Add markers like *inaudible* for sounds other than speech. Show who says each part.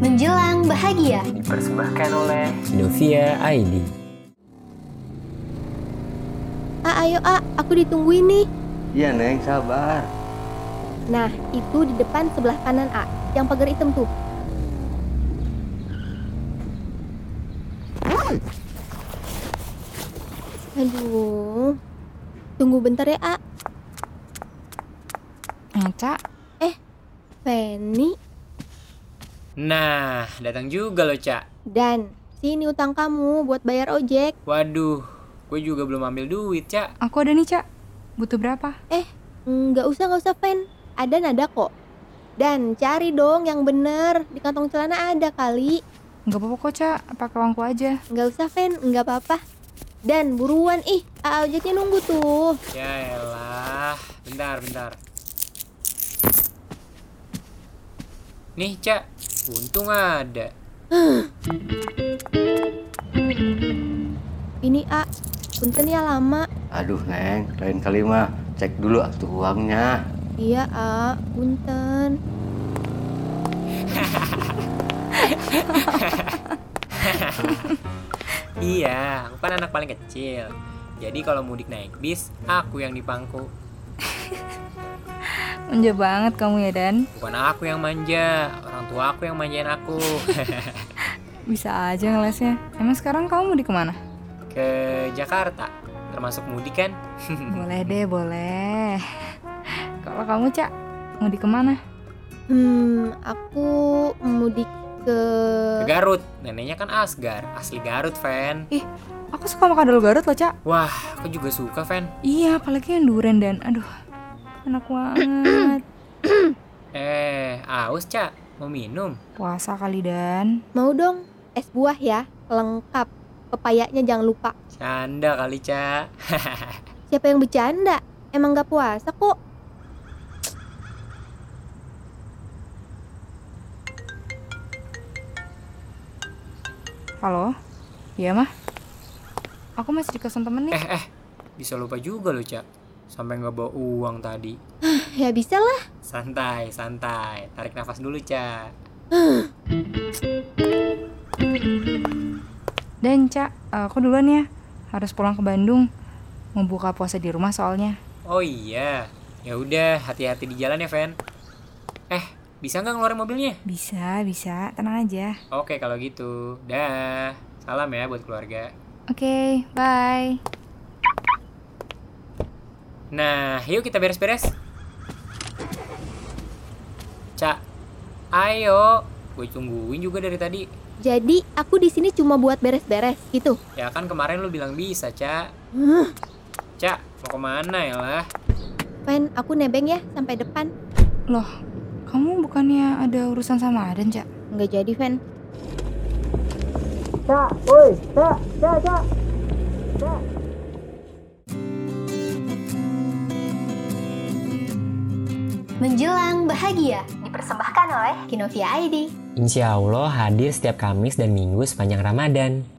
Speaker 1: menjelang bahagia.
Speaker 2: Dipersembahkan oleh
Speaker 3: Novia ID.
Speaker 1: A, ayo A, aku ditungguin nih.
Speaker 4: Iya Neng, sabar.
Speaker 1: Nah, itu di depan sebelah kanan A, yang pagar hitam tuh. Aduh, tunggu bentar ya A.
Speaker 5: Ngaca,
Speaker 1: Penny
Speaker 2: Nah, datang juga loh, Cak.
Speaker 1: dan sini utang kamu buat bayar ojek.
Speaker 2: Waduh, gue juga belum ambil duit, Cak.
Speaker 5: aku ada nih, Cak. Butuh berapa?
Speaker 1: Nggak usah, nggak usah Pen. Ada nada kok. Dan cari dong yang bener di kantong celana ada kali.
Speaker 5: Nggak apa-apa kok, Cak. Pakai uangku aja.
Speaker 1: Nggak usah Pen, nggak apa-apa. Dan buruan ih, A ojeknya nunggu tuh.
Speaker 2: Ya elah, bentar, bentar. Nih, Cak. Untung ada.
Speaker 1: Ini A, punten ya lama.
Speaker 4: Aduh Neng, lain kali mah cek dulu atuh uangnya.
Speaker 1: Iya A, punten.
Speaker 2: Iya, aku kan anak paling kecil. Jadi kalau mudik naik bis, aku yang dipangku.
Speaker 5: Manja banget kamu ya, Dan.
Speaker 2: Bukan aku yang manja, orang tua aku yang manjain aku. *laughs*
Speaker 5: Bisa aja ngelesnya. Emang sekarang kamu mau di kemana?
Speaker 2: Ke Jakarta, termasuk mudik kan?
Speaker 5: boleh deh, boleh. *laughs* Kalau kamu, Cak, mau di kemana?
Speaker 1: Hmm, aku mudik ke
Speaker 2: Ke Garut, neneknya kan Asgar, asli Garut, Fan.
Speaker 5: Aku suka makan dulu Garut loh, Cak.
Speaker 2: Wah, aku juga suka, Fan.
Speaker 5: Iya, apalagi yang duren dan aduh, enak banget.
Speaker 2: Eh, aus, Cak. Mau minum?
Speaker 5: Puasa kali dan
Speaker 1: mau dong es buah ya, lengkap. Pepayanya jangan lupa.
Speaker 2: Canda kali, Cak.
Speaker 1: Siapa yang bercanda? Emang nggak puasa kok?
Speaker 5: Halo? Iya mah? Aku masih di kosan temen nih.
Speaker 2: Eh, eh. Bisa lupa juga loh, Cak. Sampai nggak bawa uang tadi.
Speaker 1: Ya bisa lah.
Speaker 2: Santai, santai. Tarik nafas dulu, Cak.
Speaker 5: Dan Cak, aku duluan ya. Harus pulang ke Bandung. Mau buka puasa di rumah soalnya.
Speaker 2: Oh iya. Ya udah, hati-hati di jalan ya, Fan. Eh, bisa nggak ngeluarin mobilnya?
Speaker 5: Bisa, bisa. Tenang aja.
Speaker 2: Oke, kalau gitu. Dah. Salam ya buat keluarga.
Speaker 5: Oke, bye.
Speaker 2: Nah, yuk kita beres-beres. Cak, ayo. Gue tungguin juga dari tadi.
Speaker 1: Jadi aku di sini cuma buat beres-beres gitu.
Speaker 2: Ya kan kemarin lu bilang bisa, Cak.
Speaker 1: Huh,
Speaker 2: Cak, mau kemana ya lah?
Speaker 1: Pen, aku nebeng ya sampai depan.
Speaker 5: Loh, kamu bukannya ada urusan sama Aden, Cak?
Speaker 1: Nggak jadi, Pen.
Speaker 6: Menjelang bahagia dipersembahkan oleh Kinovia ID.
Speaker 3: Insya Allah hadir setiap Kamis dan Minggu sepanjang Ramadan.